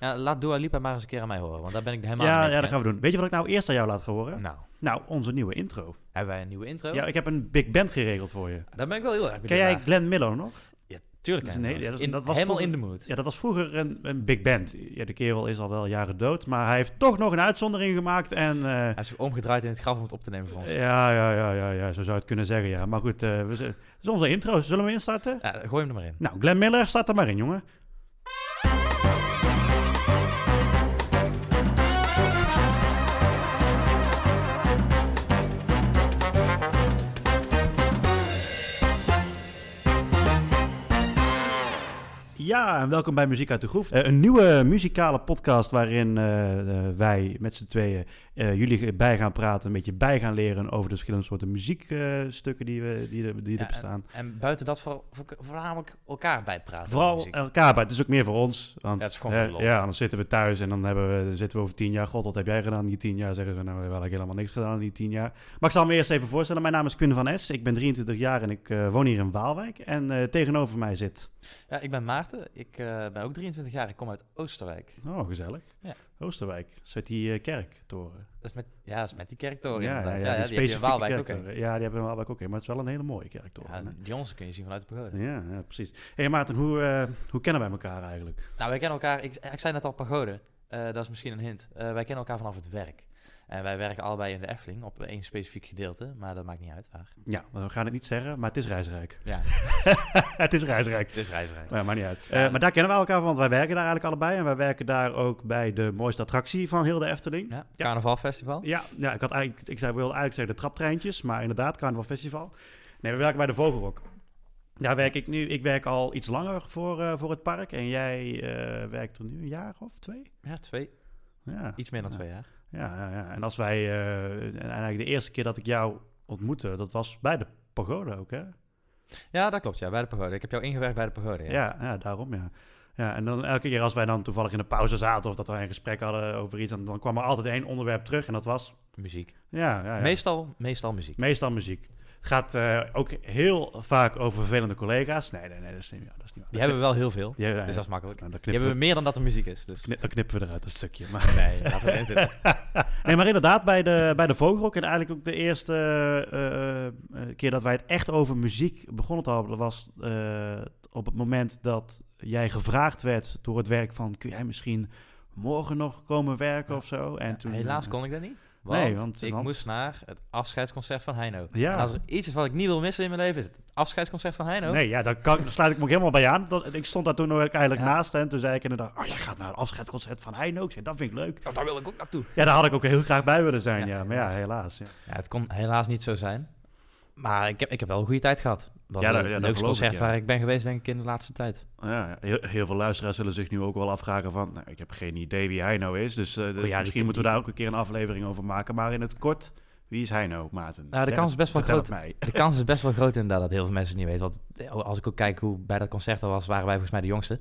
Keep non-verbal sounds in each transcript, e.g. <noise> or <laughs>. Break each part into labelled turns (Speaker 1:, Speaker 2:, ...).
Speaker 1: Ja, laat Dua Lipa maar eens een keer aan mij horen, want daar ben ik helemaal
Speaker 2: ja,
Speaker 1: mee
Speaker 2: ja, dat gaan we
Speaker 1: bekend.
Speaker 2: doen. Weet je wat ik nou eerst aan jou laat gaan horen?
Speaker 1: Nou,
Speaker 2: Nou, onze nieuwe intro.
Speaker 1: hebben wij een nieuwe intro?
Speaker 2: Ja, ik heb een big band geregeld voor je.
Speaker 1: Daar ben ik wel heel erg
Speaker 2: Ken
Speaker 1: benieuwd
Speaker 2: jij
Speaker 1: naar.
Speaker 2: Glenn Miller nog?
Speaker 1: Ja, tuurlijk.
Speaker 2: Dat is een
Speaker 1: hè.
Speaker 2: hele- ja, dat is-
Speaker 1: In-
Speaker 2: dat was
Speaker 1: helemaal in
Speaker 2: vroeger-
Speaker 1: de mood.
Speaker 2: Ja, dat was vroeger een, een big band. Ja, de kerel is al wel jaren dood, maar hij heeft toch nog een uitzondering gemaakt. En eh,
Speaker 1: Hij heeft zich omgedraaid in het graf om het op te nemen voor ons.
Speaker 2: ja, ja, ja, ja, ja, zo zou je het kunnen zeggen, ja. Maar goed, eh we, z- dat is onze intro. Zullen we instarten?
Speaker 1: Ja, gooi hem er maar in.
Speaker 2: Nou, Glenn Miller, staat er maar in, jongen. Ja, en welkom bij Muziek uit de Groef. Eh, een nieuwe muzikale podcast waarin eh, eh, wij met z'n tweeën eh, jullie bij gaan praten, een beetje bij gaan leren over de verschillende soorten muziekstukken eh, die, we, die, er- die er
Speaker 1: Ja,
Speaker 2: bestaan.
Speaker 1: En buiten dat voor, voor, voornamelijk elkaar bijpraten.
Speaker 2: Vooral
Speaker 1: over muziek.
Speaker 2: elkaar, maar het is ook meer voor ons. Want,
Speaker 1: Ja, het is gewoon
Speaker 2: hè,
Speaker 1: voor de lol.
Speaker 2: Ja, anders zitten we thuis en dan hebben we, dan zitten we over tien jaar. God, wat heb jij gedaan in die tien jaar? Zeggen ze, nou, we hebben eigenlijk helemaal niks gedaan in die tien jaar. Maar ik zal me eerst even voorstellen. Mijn naam is Quinn van S. Ik ben 23 jaar en ik eh, woon hier in Waalwijk. En eh, tegenover mij zit...
Speaker 1: Ja, ik ben Maarten. Ik eh, ben ook 23 jaar. Ik kom uit Oosterwijk.
Speaker 2: Oh, gezellig.
Speaker 1: Ja.
Speaker 2: Oosterwijk. Zit die eh, kerktoren.
Speaker 1: Dat is met, ja, dat is met die kerktoren inderdaad.
Speaker 2: die
Speaker 1: Ja, ja, die heb je in
Speaker 2: specifieke
Speaker 1: Waalwijk ook.
Speaker 2: kerktoren.
Speaker 1: hè.
Speaker 2: Ja, die hebben we in Waalwijk ook. hè, Maar het is wel een hele mooie kerktoren.
Speaker 1: Ja,
Speaker 2: hè?
Speaker 1: die onze kun je zien vanuit de pagoda.
Speaker 2: Ja, ja, precies. hey Maarten, hoe, eh, hoe kennen wij elkaar eigenlijk?
Speaker 1: Nou, wij kennen elkaar. Ik, ik zei net al pagode. Eh, dat is misschien een hint. Eh, wij kennen elkaar vanaf het werk. En wij werken allebei in de Efteling op één specifiek gedeelte, maar dat maakt niet uit waar.
Speaker 2: Ja, we gaan het niet zeggen, maar het is reisrijk. <laughs>
Speaker 1: Ja,
Speaker 2: het is reisrijk.
Speaker 1: het is reisrijk.
Speaker 2: Ja, maar niet uit.
Speaker 1: Ehm,
Speaker 2: Eh, maar daar kennen we elkaar van, want wij werken daar eigenlijk allebei. En wij werken daar ook bij de mooiste attractie van heel de Efteling.
Speaker 1: Ja, carnavalfestival.
Speaker 2: Ja, ja ik, had eigenlijk, ik zei, wilde eigenlijk zeggen de traptreintjes, maar inderdaad, Carnaval Festival. Nee, we werken bij de Vogelrok. Daar werk ik nu. Ik werk al iets langer voor, eh, voor het park. En jij eh, werkt er nu een jaar of twee?
Speaker 1: Ja, twee,
Speaker 2: Ja,
Speaker 1: iets meer dan
Speaker 2: Ja.
Speaker 1: twee jaar.
Speaker 2: ja, ja. ja. En als wij... eh, en eigenlijk de eerste keer dat ik jou ontmoette, dat was bij de pagode ook, hè?
Speaker 1: Ja, dat klopt. Ja, bij de pagode. Ik heb jou ingewerkt bij de pagode. Ja.
Speaker 2: Ja, ja daarom ja. Ja, en dan elke keer als wij dan toevallig in de pauze zaten of dat we een gesprek hadden over iets, dan, dan kwam er altijd één onderwerp terug en dat was,
Speaker 1: Muziek.
Speaker 2: ja, ja, ja.
Speaker 1: Meestal, meestal muziek.
Speaker 2: meestal muziek. Het gaat eh, ook heel vaak over vervelende collega's. Nee, nee, nee, dat is niet, ja, dat is niet waar.
Speaker 1: Die hebben we wel heel veel,
Speaker 2: Die hebben-
Speaker 1: dus dat is makkelijk.
Speaker 2: nou, dat
Speaker 1: Die
Speaker 2: knippen,
Speaker 1: hebben we
Speaker 2: we,
Speaker 1: meer dan dat er muziek is. Dus.
Speaker 2: knip- dat knippen we eruit, dat stukje. Maar,
Speaker 1: Nee, laten we het in. <laughs>
Speaker 2: nee, maar inderdaad, bij de, bij de Vogelrok en eigenlijk ook de eerste eh, eh, keer dat wij het echt over muziek begonnen te hebben, was eh, op het moment dat jij gevraagd werd door het werk van, kun jij misschien morgen nog komen werken
Speaker 1: Ja.
Speaker 2: of zo? En toen, eh,
Speaker 1: Helaas kon ik dat niet. Want
Speaker 2: Nee, want-
Speaker 1: ik
Speaker 2: want-
Speaker 1: moest naar het afscheidsconcert van Heino.
Speaker 2: Ja.
Speaker 1: En als er iets is wat ik niet wil missen in mijn leven, is het afscheidsconcert van Heino.
Speaker 2: Nee, ja, daar, kan, daar sluit ik me ook helemaal bij aan. Dat, ik stond daar toen ook eigenlijk
Speaker 1: Ja.
Speaker 2: naast en toen zei ik inderdaad, oh, jij gaat naar het afscheidsconcert van Heijn ook. Ik zei, dat vind ik leuk.
Speaker 1: Oh, daar wil ik ook naartoe.
Speaker 2: Ja, daar had ik ook heel graag bij willen zijn, ja.
Speaker 1: Ja,
Speaker 2: Maar ja, helaas. Ja,
Speaker 1: Ja, het kon helaas niet zo zijn. Maar ik heb, ik heb wel een goede tijd gehad. Dat
Speaker 2: Ja,
Speaker 1: was
Speaker 2: dat-
Speaker 1: het
Speaker 2: ja, dat
Speaker 1: leukste
Speaker 2: geloof ik,
Speaker 1: concert
Speaker 2: ja.
Speaker 1: waar ik ben geweest, denk ik, in de laatste tijd.
Speaker 2: Ja, ja. heel, heel veel luisteraars zullen zich nu ook wel afvragen van... Nou, ik heb geen idee wie hij nou is, dus, eh, dus
Speaker 1: Oh ja, die-
Speaker 2: misschien moeten we daar ook een keer een aflevering over maken. Maar in het kort, wie is hij nou, Maarten?
Speaker 1: Nou, de kans is best wel
Speaker 2: vertel
Speaker 1: groot.
Speaker 2: het mij. <laughs>
Speaker 1: De kans is best wel groot inderdaad dat heel veel mensen het niet weten. Want eh, als ik ook kijk hoe bij dat concert al was, waren wij volgens mij de jongste.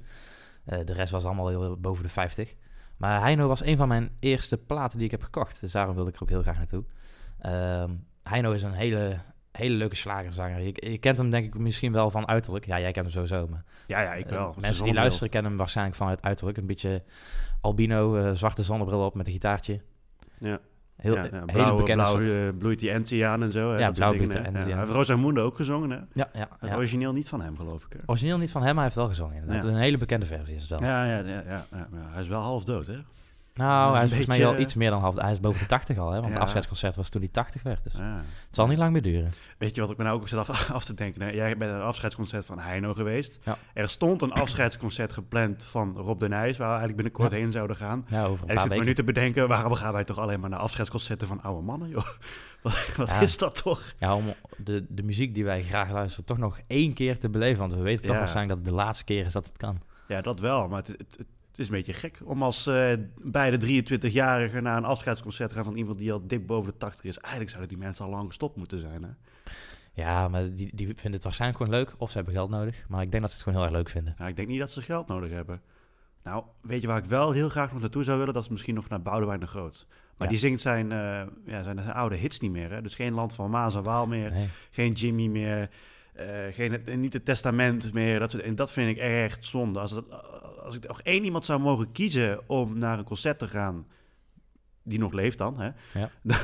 Speaker 1: Eh, de rest was allemaal heel, boven de 50. Maar Heino was een van mijn eerste platen die ik heb gekocht. Dus daarom wilde ik er ook heel graag naartoe. Ehm Heino is een hele, hele leuke slagerzanger. Je, je kent hem denk ik misschien wel van uiterlijk. Ja, jij kent hem sowieso. Maar
Speaker 2: Ja, ja, ik
Speaker 1: Eh,
Speaker 2: wel. met
Speaker 1: mensen
Speaker 2: de
Speaker 1: die
Speaker 2: zonnebril.
Speaker 1: luisteren kennen hem waarschijnlijk van het uiterlijk. Een beetje albino, eh, zwarte zonnebril op met een gitaartje.
Speaker 2: Ja.
Speaker 1: Heel,
Speaker 2: ja, ja,
Speaker 1: hele
Speaker 2: blauw,
Speaker 1: bekende...
Speaker 2: blauw, eh, bloeit die Entie aan en zo. hè,
Speaker 1: Ja,
Speaker 2: dat soort
Speaker 1: blauw
Speaker 2: dingen,
Speaker 1: bloeit de
Speaker 2: hè. Ja,
Speaker 1: Entie aan.
Speaker 2: Hij heeft Rosamunde ook gezongen, hè?
Speaker 1: ja, ja,
Speaker 2: Het
Speaker 1: ja.
Speaker 2: origineel niet van hem, geloof ik. hè?
Speaker 1: Origineel niet van hem, maar hij heeft wel gezongen inderdaad.
Speaker 2: Ja.
Speaker 1: Een hele bekende versie is het wel.
Speaker 2: Ja, ja, ja, ja, ja, ja. hij is wel half dood, hè?
Speaker 1: Nou, hij
Speaker 2: Een
Speaker 1: is volgens mij
Speaker 2: beetje- eh,
Speaker 1: al iets meer dan half... Hij is boven de 80 al, hè? Want
Speaker 2: Ja.
Speaker 1: het afscheidsconcert was toen hij 80 werd. Dus
Speaker 2: Ja.
Speaker 1: het zal niet lang meer duren.
Speaker 2: Weet je wat ik me nou ook zat af, <laughs> af te denken? Hè? Jij bent naar een afscheidsconcert van Heino geweest.
Speaker 1: Ja.
Speaker 2: Er stond een afscheidsconcert gepland van Rob de Nijs, waar we eigenlijk binnenkort
Speaker 1: Ja.
Speaker 2: heen zouden gaan.
Speaker 1: Ja, over een
Speaker 2: En ik
Speaker 1: paar
Speaker 2: zit me
Speaker 1: weken.
Speaker 2: nu te bedenken, waarom gaan wij toch alleen maar naar afscheidsconcerten van oude mannen, joh? <laughs> Wat, wat
Speaker 1: Ja.
Speaker 2: is dat toch?
Speaker 1: Ja, om de, de muziek die wij graag luisteren toch nog één keer te beleven. Want we weten toch
Speaker 2: Ja.
Speaker 1: waarschijnlijk dat het de laatste keer is dat het kan.
Speaker 2: Ja, dat wel, maar het, het, het is een beetje gek om als eh, beide 23-jarigen naar een afscheidsconcert te gaan van iemand die al dik boven de 80 is. Eigenlijk zouden die mensen al lang gestopt moeten zijn, hè?
Speaker 1: Ja, maar die, die vinden het waarschijnlijk gewoon leuk. Of ze hebben geld nodig. Maar ik denk dat ze het gewoon heel erg leuk vinden.
Speaker 2: Nou, ik denk niet dat ze geld nodig hebben. Nou, weet je waar ik wel heel graag nog naartoe zou willen? Dat is misschien nog naar Boudewijn de Groot. Maar
Speaker 1: Ja.
Speaker 2: die zingt zijn, eh, ja, zijn, zijn oude hits niet meer. Hè? Dus geen Land van Maas en Waal meer.
Speaker 1: Nee.
Speaker 2: Geen Jimmy meer. eh, eh, geen, en niet het testament meer. Dat, soort- en dat vind ik echt zonde. Als, dat, als ik nog één iemand zou mogen kiezen om naar een concert te gaan, die nog leeft dan, hè?
Speaker 1: Ja.
Speaker 2: <laughs>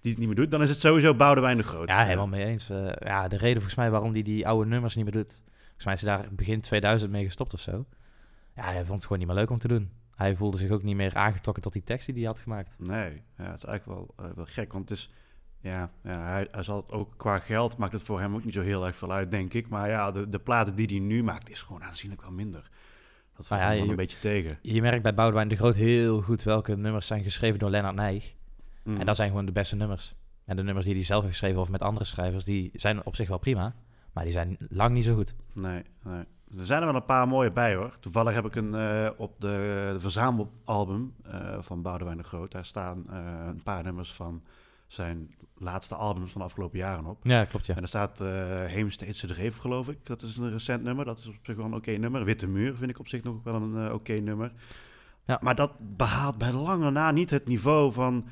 Speaker 2: die het niet meer doet, dan is het sowieso Boudewijn de Groot.
Speaker 1: Ja, helemaal mee eens. Eh, ja, de reden volgens mij waarom hij die oude nummers niet meer doet. Volgens mij is hij daar begin 2000 mee gestopt of zo. Ja, hij vond het gewoon niet meer leuk om te doen. Hij voelde zich ook niet meer aangetrokken tot die tekst die hij had gemaakt.
Speaker 2: Nee, ja, het is eigenlijk wel, eh, wel gek, want het is... Ja, ja hij, hij zal het ook qua geld maakt het voor hem ook niet zo heel erg veel uit, denk ik. Maar ja, de, de platen die hij nu maakt is gewoon aanzienlijk wel minder. Dat valt
Speaker 1: ja,
Speaker 2: hem wel
Speaker 1: je-
Speaker 2: een beetje tegen.
Speaker 1: Je merkt bij Boudewijn de Groot heel goed welke nummers zijn geschreven door Lennart Nijg.
Speaker 2: Mm.
Speaker 1: En dat zijn gewoon de beste nummers. En de nummers die hij zelf heeft geschreven of met andere schrijvers, die zijn op zich wel prima. Maar die zijn lang niet zo goed.
Speaker 2: Nee, nee. Er zijn er wel een paar mooie bij hoor. Toevallig heb ik een eh, op de, de verzamelalbum eh, van Boudewijn de Groot. Daar staan eh, een paar nummers van zijn laatste albums van de afgelopen jaren op.
Speaker 1: Ja, klopt ja.
Speaker 2: En er staat eh Heemsteedse Dreef, geloof ik. Dat is een recent nummer. Dat is op zich wel een oké nummer. Witte Muur vind ik op zich nog ook wel een eh, oké nummer.
Speaker 1: Ja.
Speaker 2: Maar dat behaalt bij lange na niet het niveau van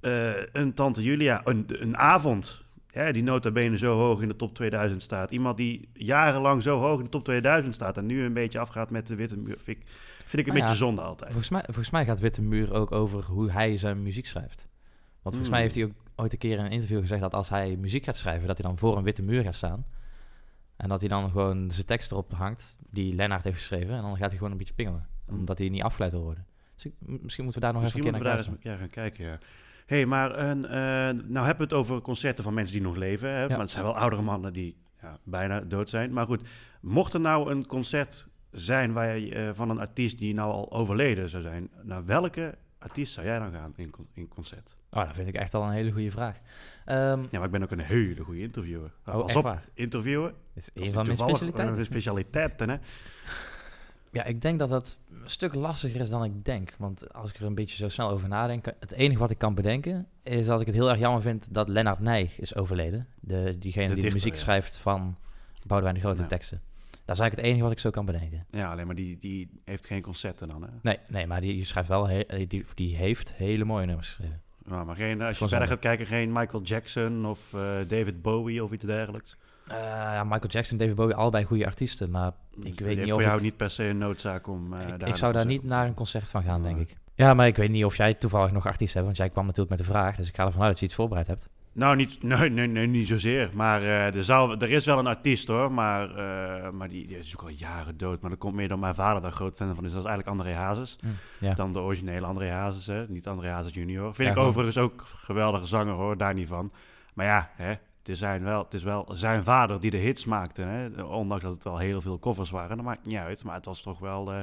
Speaker 2: eh, een Tante Julia. Een, een avond hè, die nota bene zo hoog in de top 2000 staat. Iemand die jarenlang zo hoog in de top 2000 staat... en nu een beetje afgaat met de Witte Muur. Vind ik, vind ik een
Speaker 1: Nou ja,
Speaker 2: beetje zonde altijd.
Speaker 1: Volgens mij, volgens mij gaat Witte Muur ook over hoe hij zijn muziek schrijft. Want volgens mij
Speaker 2: Hmm.
Speaker 1: heeft hij ook ooit een keer in een interview gezegd dat als hij muziek gaat schrijven, dat hij dan voor een witte muur gaat staan. En dat hij dan gewoon zijn tekst erop hangt, die Lennart heeft geschreven. En dan gaat hij gewoon een beetje pingelen.
Speaker 2: Hmm.
Speaker 1: Omdat hij niet afgeleid wil worden. Dus ik- m- misschien moeten we daar nog
Speaker 2: Misschien
Speaker 1: even
Speaker 2: moeten
Speaker 1: een
Speaker 2: we
Speaker 1: keer
Speaker 2: daar
Speaker 1: naar
Speaker 2: eens
Speaker 1: kijken.
Speaker 2: ja, gaan kijken, ja. hey, maar een, eh, nou hebben we het over concerten van mensen die nog leven. Hè? Maar het zijn wel oudere mannen die ja, bijna dood zijn. Maar goed, mocht er nou een concert zijn waar je, eh, van een artiest die nou al overleden zou zijn... naar welke artiest zou jij dan gaan in, con- in concert?
Speaker 1: Oh, dat vind ik echt al een hele goede vraag. Ehm,
Speaker 2: Ja, maar ik ben ook een hele goede interviewer.
Speaker 1: oh,
Speaker 2: Pas
Speaker 1: echt
Speaker 2: op,
Speaker 1: waar.
Speaker 2: interviewen.
Speaker 1: Dit is
Speaker 2: Dat is
Speaker 1: een van mijn
Speaker 2: toevallig
Speaker 1: specialiteiten.
Speaker 2: Een specialiteit, hè?
Speaker 1: Ja, ik denk dat dat een stuk lastiger is dan ik denk. Want als ik er een beetje zo snel over nadenk, het enige wat ik kan bedenken is dat ik het heel erg jammer vind dat Lennart Nij is overleden. De, diegene
Speaker 2: De
Speaker 1: die
Speaker 2: dichter,
Speaker 1: de muziek
Speaker 2: ja.
Speaker 1: schrijft van Boudewijn de Grote
Speaker 2: Ja.
Speaker 1: teksten. Dat is eigenlijk het enige wat ik zo kan bedenken.
Speaker 2: Ja, alleen maar die, die heeft geen concerten dan, hè?
Speaker 1: Nee, nee maar die schrijft wel, he- eh, die, die heeft hele mooie nummers geschreven.
Speaker 2: Nou, maar geen, als je
Speaker 1: Gewoon
Speaker 2: verder
Speaker 1: zonde.
Speaker 2: gaat kijken, geen Michael Jackson of eh, David Bowie of iets dergelijks.
Speaker 1: Eh, ja, Michael Jackson, David Bowie, allebei goede artiesten. Maar
Speaker 2: Dus
Speaker 1: weet
Speaker 2: die
Speaker 1: niet
Speaker 2: heeft
Speaker 1: of
Speaker 2: voor jou
Speaker 1: ik-
Speaker 2: niet per se een noodzaak om. eh,
Speaker 1: ik,
Speaker 2: daar
Speaker 1: ik zou daar
Speaker 2: een
Speaker 1: niet
Speaker 2: concert op te
Speaker 1: naar
Speaker 2: doen.
Speaker 1: een concert van gaan, denk
Speaker 2: Nee.
Speaker 1: ik. Ja, maar ik weet niet of jij toevallig nog artiest hebt, want jij kwam natuurlijk met de vraag. Dus ik ga ervan uit dat je iets voorbereid hebt.
Speaker 2: Nou, niet, <laughs> nee, nee, nee, niet zozeer. Maar eh, er, zou, er is wel een artiest hoor, maar, eh, maar die, die is ook al jaren dood. Maar dat komt meer dan mijn vader daar groot fan van is. Dat is eigenlijk André Hazes.
Speaker 1: Ja.
Speaker 2: Hm. Dan de originele André Hazes, hè? niet André Hazes junior. Vind
Speaker 1: Ja,
Speaker 2: ik
Speaker 1: gewoon-
Speaker 2: overigens ook geweldige zanger hoor, daar niet van. Maar ja, hè, het, is zijn wel, het is wel zijn vader die de hits maakte. Hè? Ondanks dat het wel heel veel covers waren, dat maakt niet uit. Maar het was toch wel, eh,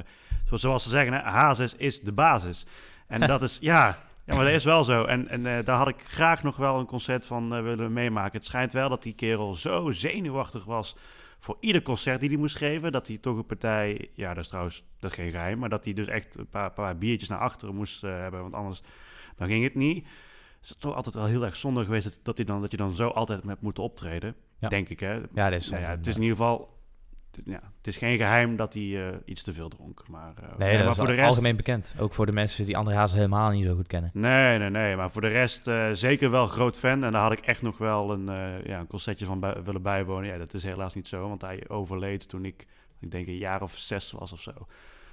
Speaker 2: zo- zoals ze zeggen, hè, Hazes is de basis. En dat is, ja, ja, maar dat is wel zo. En, en eh, daar had ik graag nog wel een concert van eh, willen meemaken. Het schijnt wel dat die kerel zo zenuwachtig was voor ieder concert die hij moest geven. Dat hij toch een partij, ja, dat is trouwens dat is geen geheim, maar dat hij dus echt een paar, paar biertjes naar achteren moest eh, hebben. Want anders dan ging het niet. Het is toch altijd wel heel erg zonde geweest dat- dat, hij dan, dat je dan zo altijd met moet optreden.
Speaker 1: Ja.
Speaker 2: Denk ik, hè?
Speaker 1: Ja, dit is
Speaker 2: Nou ja, het
Speaker 1: inderdaad.
Speaker 2: is in ieder geval. het- Ja, het is geen geheim dat hij eh, iets te veel dronk. Maar, eh,
Speaker 1: Nee,
Speaker 2: maar
Speaker 1: dat is
Speaker 2: voor de
Speaker 1: al-
Speaker 2: rest.
Speaker 1: algemeen bekend. Ook voor de mensen die André Hazes helemaal niet zo goed kennen.
Speaker 2: Nee, nee, nee. Maar voor de rest eh, zeker wel groot fan. En daar had ik echt nog wel een, eh, ja, een concertje van bij- willen bijwonen. Ja, dat is helaas niet zo, want hij overleed toen ik, ik denk, een jaar of zes was of zo.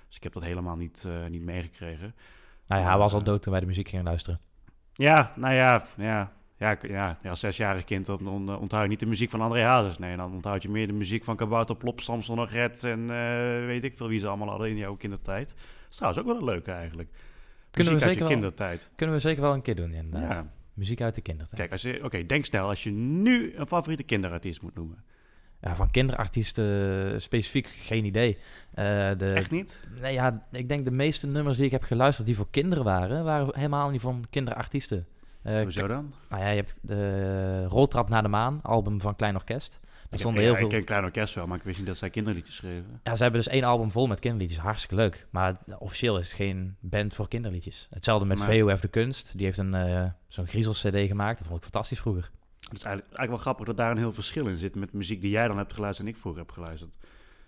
Speaker 2: Dus ik heb dat helemaal niet, eh, niet meegekregen.
Speaker 1: Nou ja, hij was al
Speaker 2: Ja.
Speaker 1: dood toen wij de muziek gingen luisteren.
Speaker 2: Ja, nou ja, ja. Ja, ik- ja, ja, als zesjarig kind dan on- eh, onthoud je niet de muziek van André Hazes. Nee, dan onthoud je meer de muziek van Kabouter Plop, Samson en Red en eh, weet ik veel wie ze allemaal hadden in jouw kindertijd. Dat is trouwens ook wel een leuke eigenlijk.
Speaker 1: Kunnen we
Speaker 2: muziek uit
Speaker 1: zeker
Speaker 2: je
Speaker 1: wel- Nou,
Speaker 2: kindertijd.
Speaker 1: Kunnen we zeker wel een keer doen, inderdaad.
Speaker 2: Ja.
Speaker 1: Muziek uit de kindertijd.
Speaker 2: Kijk, als je, oké, denk snel als je nu een favoriete kinderartiest moet noemen.
Speaker 1: ja, van kinderartiesten eh, specifiek geen idee. Eh, de,
Speaker 2: Echt niet?
Speaker 1: Nee, ja, ik denk de meeste nummers die ik heb geluisterd die voor kinderen waren, waren helemaal niet van kinderartiesten. Eh,
Speaker 2: Hoezo dan?
Speaker 1: k- nou ja, je hebt de Roltrap naar de Maan, album van Klein Orkest. Daar
Speaker 2: Ik,
Speaker 1: stonden
Speaker 2: ik-
Speaker 1: heel
Speaker 2: ik
Speaker 1: veel...
Speaker 2: ken Klein Orkest wel, maar ik wist niet dat zij kinderliedjes schreven.
Speaker 1: Ja, ze hebben dus één album vol met kinderliedjes. Hartstikke leuk. Maar officieel is het geen band voor kinderliedjes. Hetzelfde met
Speaker 2: Nee.
Speaker 1: VOF de Kunst. Die heeft een, eh, zo'n griezel-cd gemaakt. Dat vond ik fantastisch vroeger.
Speaker 2: Het is eigenlijk, eigenlijk wel grappig dat daar een heel verschil in zit met muziek die jij dan hebt geluisterd en ik vroeger heb geluisterd.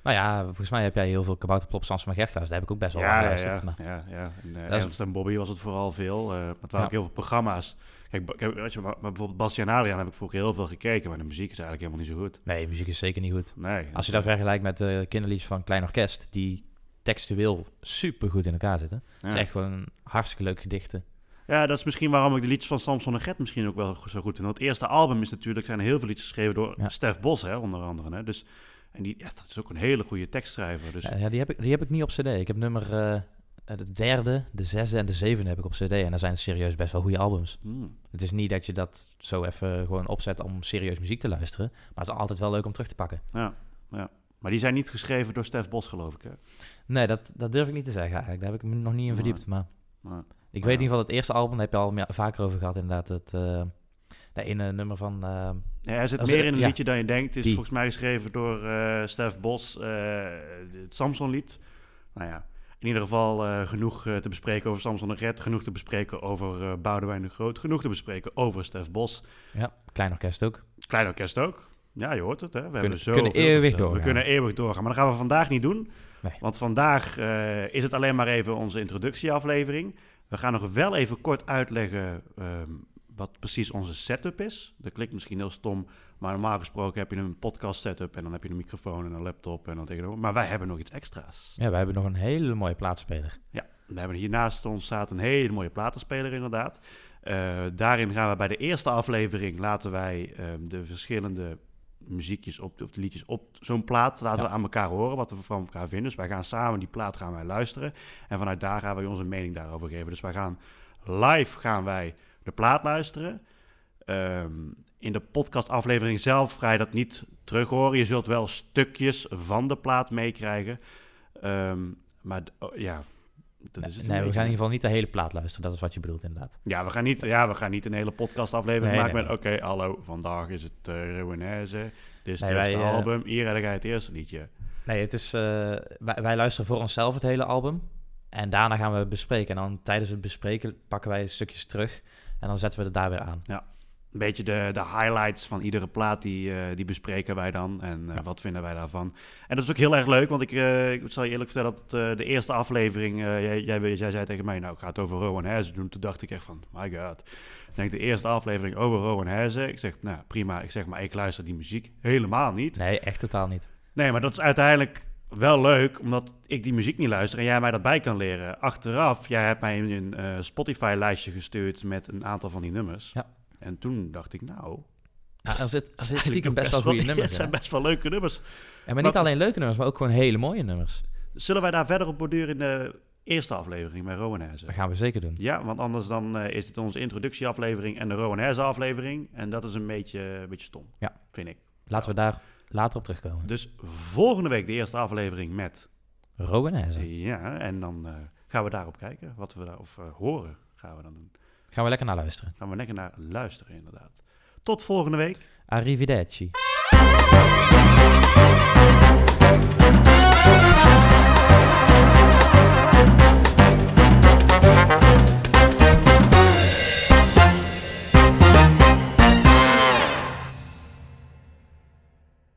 Speaker 1: Nou ja, volgens mij heb jij heel veel kabouterplop Sans van Gert geluisterd. Daar heb ik ook best wel aan geluisterd.
Speaker 2: ja,
Speaker 1: maar-
Speaker 2: ja, ja. En, eh,
Speaker 1: Dat is-
Speaker 2: Ernst en Bobby was het vooral veel. eh maar het waren
Speaker 1: Ja.
Speaker 2: ook heel veel programma's. Kijk, ba- kijk, weet je, maar, maar bijvoorbeeld Bastiaan Adriaan heb ik vroeger heel veel gekeken, maar de muziek is eigenlijk helemaal niet zo goed.
Speaker 1: Nee, muziek is zeker niet goed.
Speaker 2: Nee.
Speaker 1: Als je dat vergelijkt met de kinderliedjes van Klein Orkest, die textueel super goed in elkaar zitten. Het
Speaker 2: ja.
Speaker 1: is echt gewoon hartstikke leuk gedichten.
Speaker 2: ja, dat is misschien waarom ik de liedjes van Samson en Gert misschien ook wel zo goed vind. Want het eerste album is natuurlijk, zijn heel veel liedjes geschreven door
Speaker 1: Ja.
Speaker 2: Stef Bos, hè, onder andere. Hè. Dus, en die, ja, dat is ook een hele goede tekstschrijver. Dus,
Speaker 1: Ja, ja, die, heb ik, die heb ik niet op cd. Ik heb nummer eh, de derde, de zesde en de zevende heb ik op cd. En dat zijn serieus best wel goede albums.
Speaker 2: Hmm.
Speaker 1: Het is niet dat je dat zo even gewoon opzet om serieus muziek te luisteren. Maar het is altijd wel leuk om terug te pakken.
Speaker 2: ja, ja. Maar die zijn niet geschreven door Stef Bos, geloof ik. Hè.
Speaker 1: Nee, dat, dat durf ik niet te zeggen eigenlijk. Daar heb ik me nog niet in
Speaker 2: Nee.
Speaker 1: verdiept. Maar
Speaker 2: Maar,
Speaker 1: ik weet in
Speaker 2: ja.
Speaker 1: ieder geval dat eerste album, daar heb je al meer- vaker over gehad inderdaad. Het eh dat ene nummer van... eh,
Speaker 2: Ja, er zit
Speaker 1: Als-
Speaker 2: meer in een
Speaker 1: ja.
Speaker 2: liedje dan je denkt. Het is
Speaker 1: Die.
Speaker 2: volgens mij geschreven door eh Stef Bos, eh, het Samson-lied. Nou ja, in ieder geval eh, genoeg eh, te bespreken over Samson en Gert. Genoeg te bespreken over eh Boudewijn de Groot. Genoeg te bespreken over Stef Bos.
Speaker 1: ja, Klein Orkest ook.
Speaker 2: Klein orkest ook. Ja, je hoort het, hè. We, hebben
Speaker 1: kunnen
Speaker 2: zo
Speaker 1: eeuwig
Speaker 2: We
Speaker 1: doorgaan.
Speaker 2: kunnen eeuwig doorgaan, maar dat gaan we vandaag niet doen.
Speaker 1: Nee.
Speaker 2: Want vandaag eh, is het alleen maar even onze introductieaflevering. We gaan nog wel even kort uitleggen ehm, wat precies onze setup is. Dat klinkt misschien heel stom, maar normaal gesproken heb je een podcast setup... en dan heb je een microfoon en een laptop en dan tegenover. Maar wij hebben nog iets extra's.
Speaker 1: Ja, we hebben nog een hele mooie plaatspeler.
Speaker 2: Ja, we hebben hier naast ons staat een hele mooie platenspeler inderdaad. Eh, daarin gaan we bij de eerste aflevering laten wij eh, de verschillende muziekjes op, of de liedjes op zo'n plaat laten
Speaker 1: Ja.
Speaker 2: we aan elkaar horen wat we van elkaar vinden. Dus wij gaan samen die plaat gaan wij luisteren en vanuit daar gaan wij onze mening daarover geven. Dus wij gaan live gaan wij de plaat luisteren. Ehm, in de podcastaflevering zelf ga je dat niet terug horen. Je zult wel stukjes van de plaat meekrijgen. Ehm, maar d- oh, ja, dat is het.
Speaker 1: Nee, we gaan
Speaker 2: een
Speaker 1: in
Speaker 2: beetje.
Speaker 1: ieder geval niet de hele plaat luisteren. Dat is wat je bedoelt inderdaad.
Speaker 2: Ja, we gaan niet, ja, we gaan niet een hele podcastaflevering
Speaker 1: Nee,
Speaker 2: maken
Speaker 1: nee,
Speaker 2: met... Oké, hallo, vandaag is het eh Ruinese. Dit is
Speaker 1: Nee,
Speaker 2: het eerste
Speaker 1: wij, eh,
Speaker 2: album. Hier heb ik het eerste liedje.
Speaker 1: Nee, het is, eh, wij, wij luisteren voor onszelf het hele album. En daarna gaan we het bespreken. En dan tijdens het bespreken pakken wij stukjes terug. En dan zetten we het daar weer aan.
Speaker 2: Een beetje de, de highlights van iedere plaat, die, eh, die bespreken wij dan. En eh,
Speaker 1: Ja.
Speaker 2: wat vinden wij daarvan. En dat is ook heel erg leuk, want ik, eh, ik zal je eerlijk vertellen... dat eh, de eerste aflevering, eh, jij, jij, jij zei tegen mij... nou, ik ga het over Rowan Herzen doen. Toen dacht ik echt van, my god. Ik denk, de eerste aflevering over Rowan Herzen. Ik zeg, nou, prima. Ik zeg, maar ik luister die muziek helemaal niet.
Speaker 1: Nee, echt totaal niet.
Speaker 2: Nee, maar dat is uiteindelijk wel leuk, omdat ik die muziek niet luister en jij mij dat bij kan leren. Achteraf, jij hebt mij een eh, Spotify-lijstje gestuurd met een aantal van die nummers.
Speaker 1: Ja.
Speaker 2: En toen dacht ik,
Speaker 1: <laughs>
Speaker 2: nou...
Speaker 1: Ja, er zit, er zit
Speaker 2: eigenlijk
Speaker 1: stiekem best wel
Speaker 2: <laughs>
Speaker 1: goede nummers <laughs>
Speaker 2: Het
Speaker 1: in.
Speaker 2: zijn
Speaker 1: hè?
Speaker 2: best wel leuke nummers.
Speaker 1: En maar niet alleen leuke nummers, maar ook gewoon hele mooie nummers.
Speaker 2: Zullen wij daar verder op borduren in de eerste aflevering bij Rowan
Speaker 1: Dat
Speaker 2: Herzen?
Speaker 1: gaan we zeker doen.
Speaker 2: Ja, want anders dan eh, is het onze introductieaflevering en de Rowan Herzen aflevering. En dat is een beetje, eh, een beetje stom,
Speaker 1: Ja.
Speaker 2: vind ik.
Speaker 1: Laten we daar later op terugkomen.
Speaker 2: Dus volgende week de eerste aflevering met
Speaker 1: Rowan Hezen.
Speaker 2: Ja, en dan eh, gaan we daarop kijken. Wat we daar, of eh, horen gaan we dan doen.
Speaker 1: Gaan we lekker naar luisteren.
Speaker 2: Gaan we lekker naar luisteren, inderdaad. Tot volgende week.
Speaker 1: Arrivederci.
Speaker 3: Thank you.